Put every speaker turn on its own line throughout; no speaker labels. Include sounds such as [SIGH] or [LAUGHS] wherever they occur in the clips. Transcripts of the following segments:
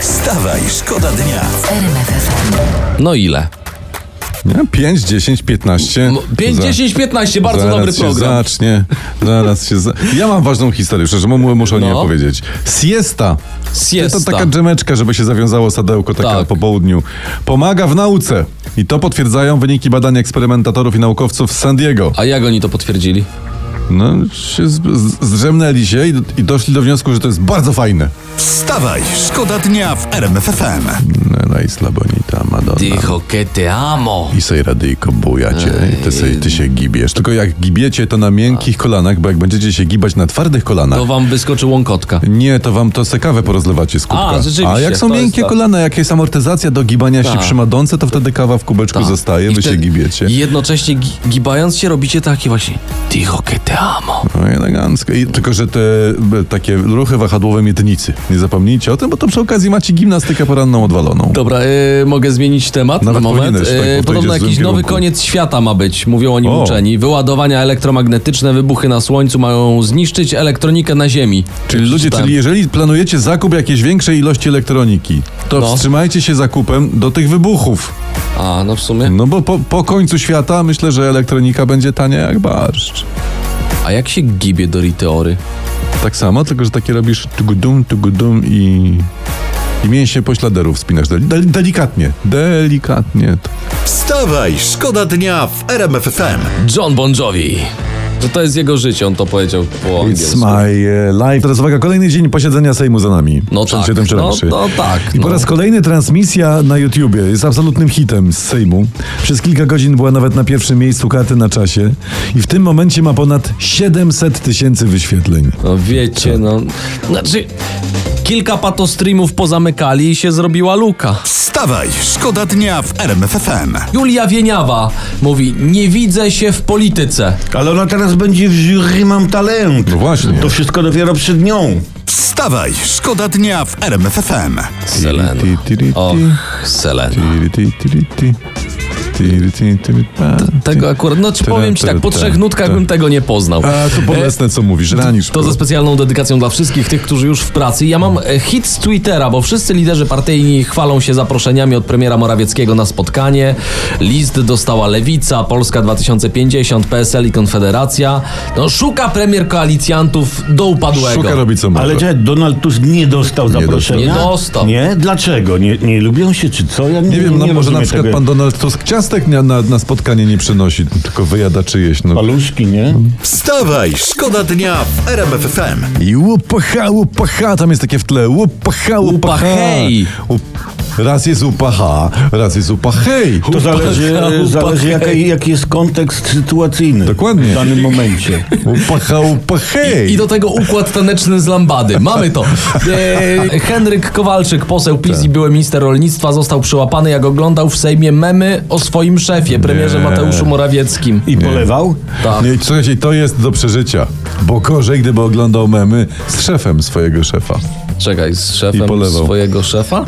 Wstawaj, szkoda dnia.
No ile?
Nie? 5, 10, 15.
No, 5,
Za-
10, 15, bardzo
zaraz
dobry
się
program.
Zacznie, zaraz się za... Ja mam ważną historię, szczerze, mu- mu- muszę o niej
No.
opowiedzieć. Siesta.
Siesta.
To taka drzemeczka, żeby się zawiązało sadełko taka
Tak.
po południu. Pomaga w nauce. I to potwierdzają wyniki badań eksperymentatorów i naukowców z San Diego.
A jak oni to potwierdzili?
No, się z- z- zdrzemnęli się i, i doszli do wniosku, że to jest bardzo fajne.
Wstawaj, szkoda dnia w RMFFM.
No, no i slabonita, Madonna.
Dijo que te amo.
I sej radyjko, bujacie, i ty, sej, ty się gibiesz. Tylko jak gibiecie, to na miękkich kolanach, bo jak będziecie się gibać na twardych kolanach,
Tak. To wam wyskoczy łąkotka.
Nie, to wam to se kawę porozlewacie z kubka.
A,
jak są
rzeczywiście, to jest tak.
miękkie
to.
kolana, jak jest amortyzacja do gibania się
Tak.
przy madonce, to wtedy kawa w kubeczku
Tak.
zostaje,
I
wy się
wtedy-
gibiecie.
I jednocześnie gi- gibając się robicie taki właśnie Dijo que te amo.
No elegancko. I, tylko, że te b, takie ruchy wahadłowe miednicy. Nie zapomnijcie o tym, bo to przy okazji macie gimnastykę poranną odwaloną.
Dobra, y, mogę zmienić temat
Nawet
na moment.
powinieneś, tak, bo to
Y,
idzie
podobno
w
jakiś
złym
nowy
kierunku.
koniec świata ma być, mówią o nim
O.
uczeni. Wyładowania elektromagnetyczne, wybuchy na słońcu mają zniszczyć elektronikę na ziemi.
Czyli ludzie,
Przeczytałem.
czyli jeżeli planujecie zakup jakiejś większej ilości elektroniki, to
No.
wstrzymajcie się zakupem do tych wybuchów.
A, no w sumie.
No bo po, po końcu świata myślę, że elektronika będzie tania jak barszcz.
A jak się gibie do Riteory?
Tak samo, tylko że takie robisz tugudum, tugudum i... I mięśnie pośladerów spinasz. Del, del, delikatnie. Delikatnie.
Wstawaj, szkoda dnia w RMFFM.
John Bon Jovi. To, to jest jego życie, on to powiedział po
It's
angielsku.
my life. Teraz uwaga, kolejny dzień posiedzenia Sejmu za nami.
No
Przed
tak,
siedem czy
no,
raczy.
no tak,
I
no.
po raz kolejny transmisja na YouTubie. Jest absolutnym hitem z Sejmu. Przez kilka godzin była nawet na pierwszym miejscu karty na czasie. I w tym momencie ma ponad 700 tysięcy wyświetleń.
No wiecie, no. Znaczy, kilka patostreamów pozamykali i się zrobiła luka.
Wstawaj, szkoda dnia w RMFFM.
Julia Wieniawa mówi, nie widzę się w polityce.
Ale ona teraz będzie w jury Mam Talent.
No właśnie.
To wszystko dopiero przed nią.
Wstawaj, szkoda dnia w RMFFM.
Selena.
Ti, ti, ti, ti.
Och, Selena.
Tiri, ti, tiri, ti. Tiri, ti, tiri, pa, ti.
Tego akurat, no ci
Tara,
powiem ci
tara,
tak, po
ta,
trzech nutkach
ta.
bym tego nie poznał.
A to bolesne, co mówisz, ranisz.
To ze specjalną dedykacją dla wszystkich tych, którzy już w pracy. Ja mam e, hit z Twittera, bo wszyscy liderzy partyjni chwalą się zaproszeniami od premiera Morawieckiego na spotkanie. List dostała Lewica, Polska 2050, PSL i Konfederacja. No, szuka premier koalicjantów do upadłego.
Szuka robi co może.
Ale czekaj, Donald Tusk nie dostał zaproszenia.
dostał. Nie dostał.
Nie? Dlaczego? Nie, nie lubią się czy co? Ja nie,
nie wiem, no, może na
rozumiem
przykład
tego.
pan Donald Tusk ciastek na, na, na spotkanie nie przynosi, tylko wyjada czyjeś. No.
Paluszki, nie?
Wstawaj, szkoda dnia w RMFFM.
I łupacha, łupacha, tam jest takie w tle. Łupacha, łupacha.
Łupachej.
Łup... Raz jest upacha, raz jest upachej. [LAUGHS]
To zależy,
Upadł,
zależy
upadł.
jaki, jaki jest kontekst sytuacyjny.
Dokładnie.
W danym momencie.
Upacha, upachej.
I do tego układ taneczny z lambady. Mamy to. E, Henryk Kowalczyk, poseł PiS i
Tak.
były minister rolnictwa, został przyłapany, jak oglądał w Sejmie memy o swoim szefie, premierze
Nie.
Mateuszu Morawieckim.
I polewał?
Tak.
Nie, słuchajcie, to jest do przeżycia. Bo gorzej, gdyby oglądał memy z szefem swojego szefa.
Czekaj, z
I
szefem
polewał.
swojego szefa?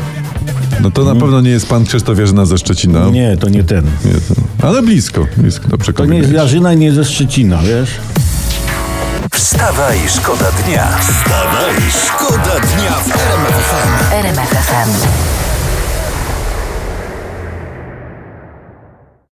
No to na pewno nie jest pan Krzysztof Jarzyna ze Szczecina.
Mhm. Nie, to nie ten.
Nie, to- Ale blisko, blisko do
To nie
przekonania.
jest Jarzyna i nie ze Szczecina, wiesz?
Wstawaj, szkoda dnia. Wstawaj, szkoda dnia w RMFFM.
RMFFM.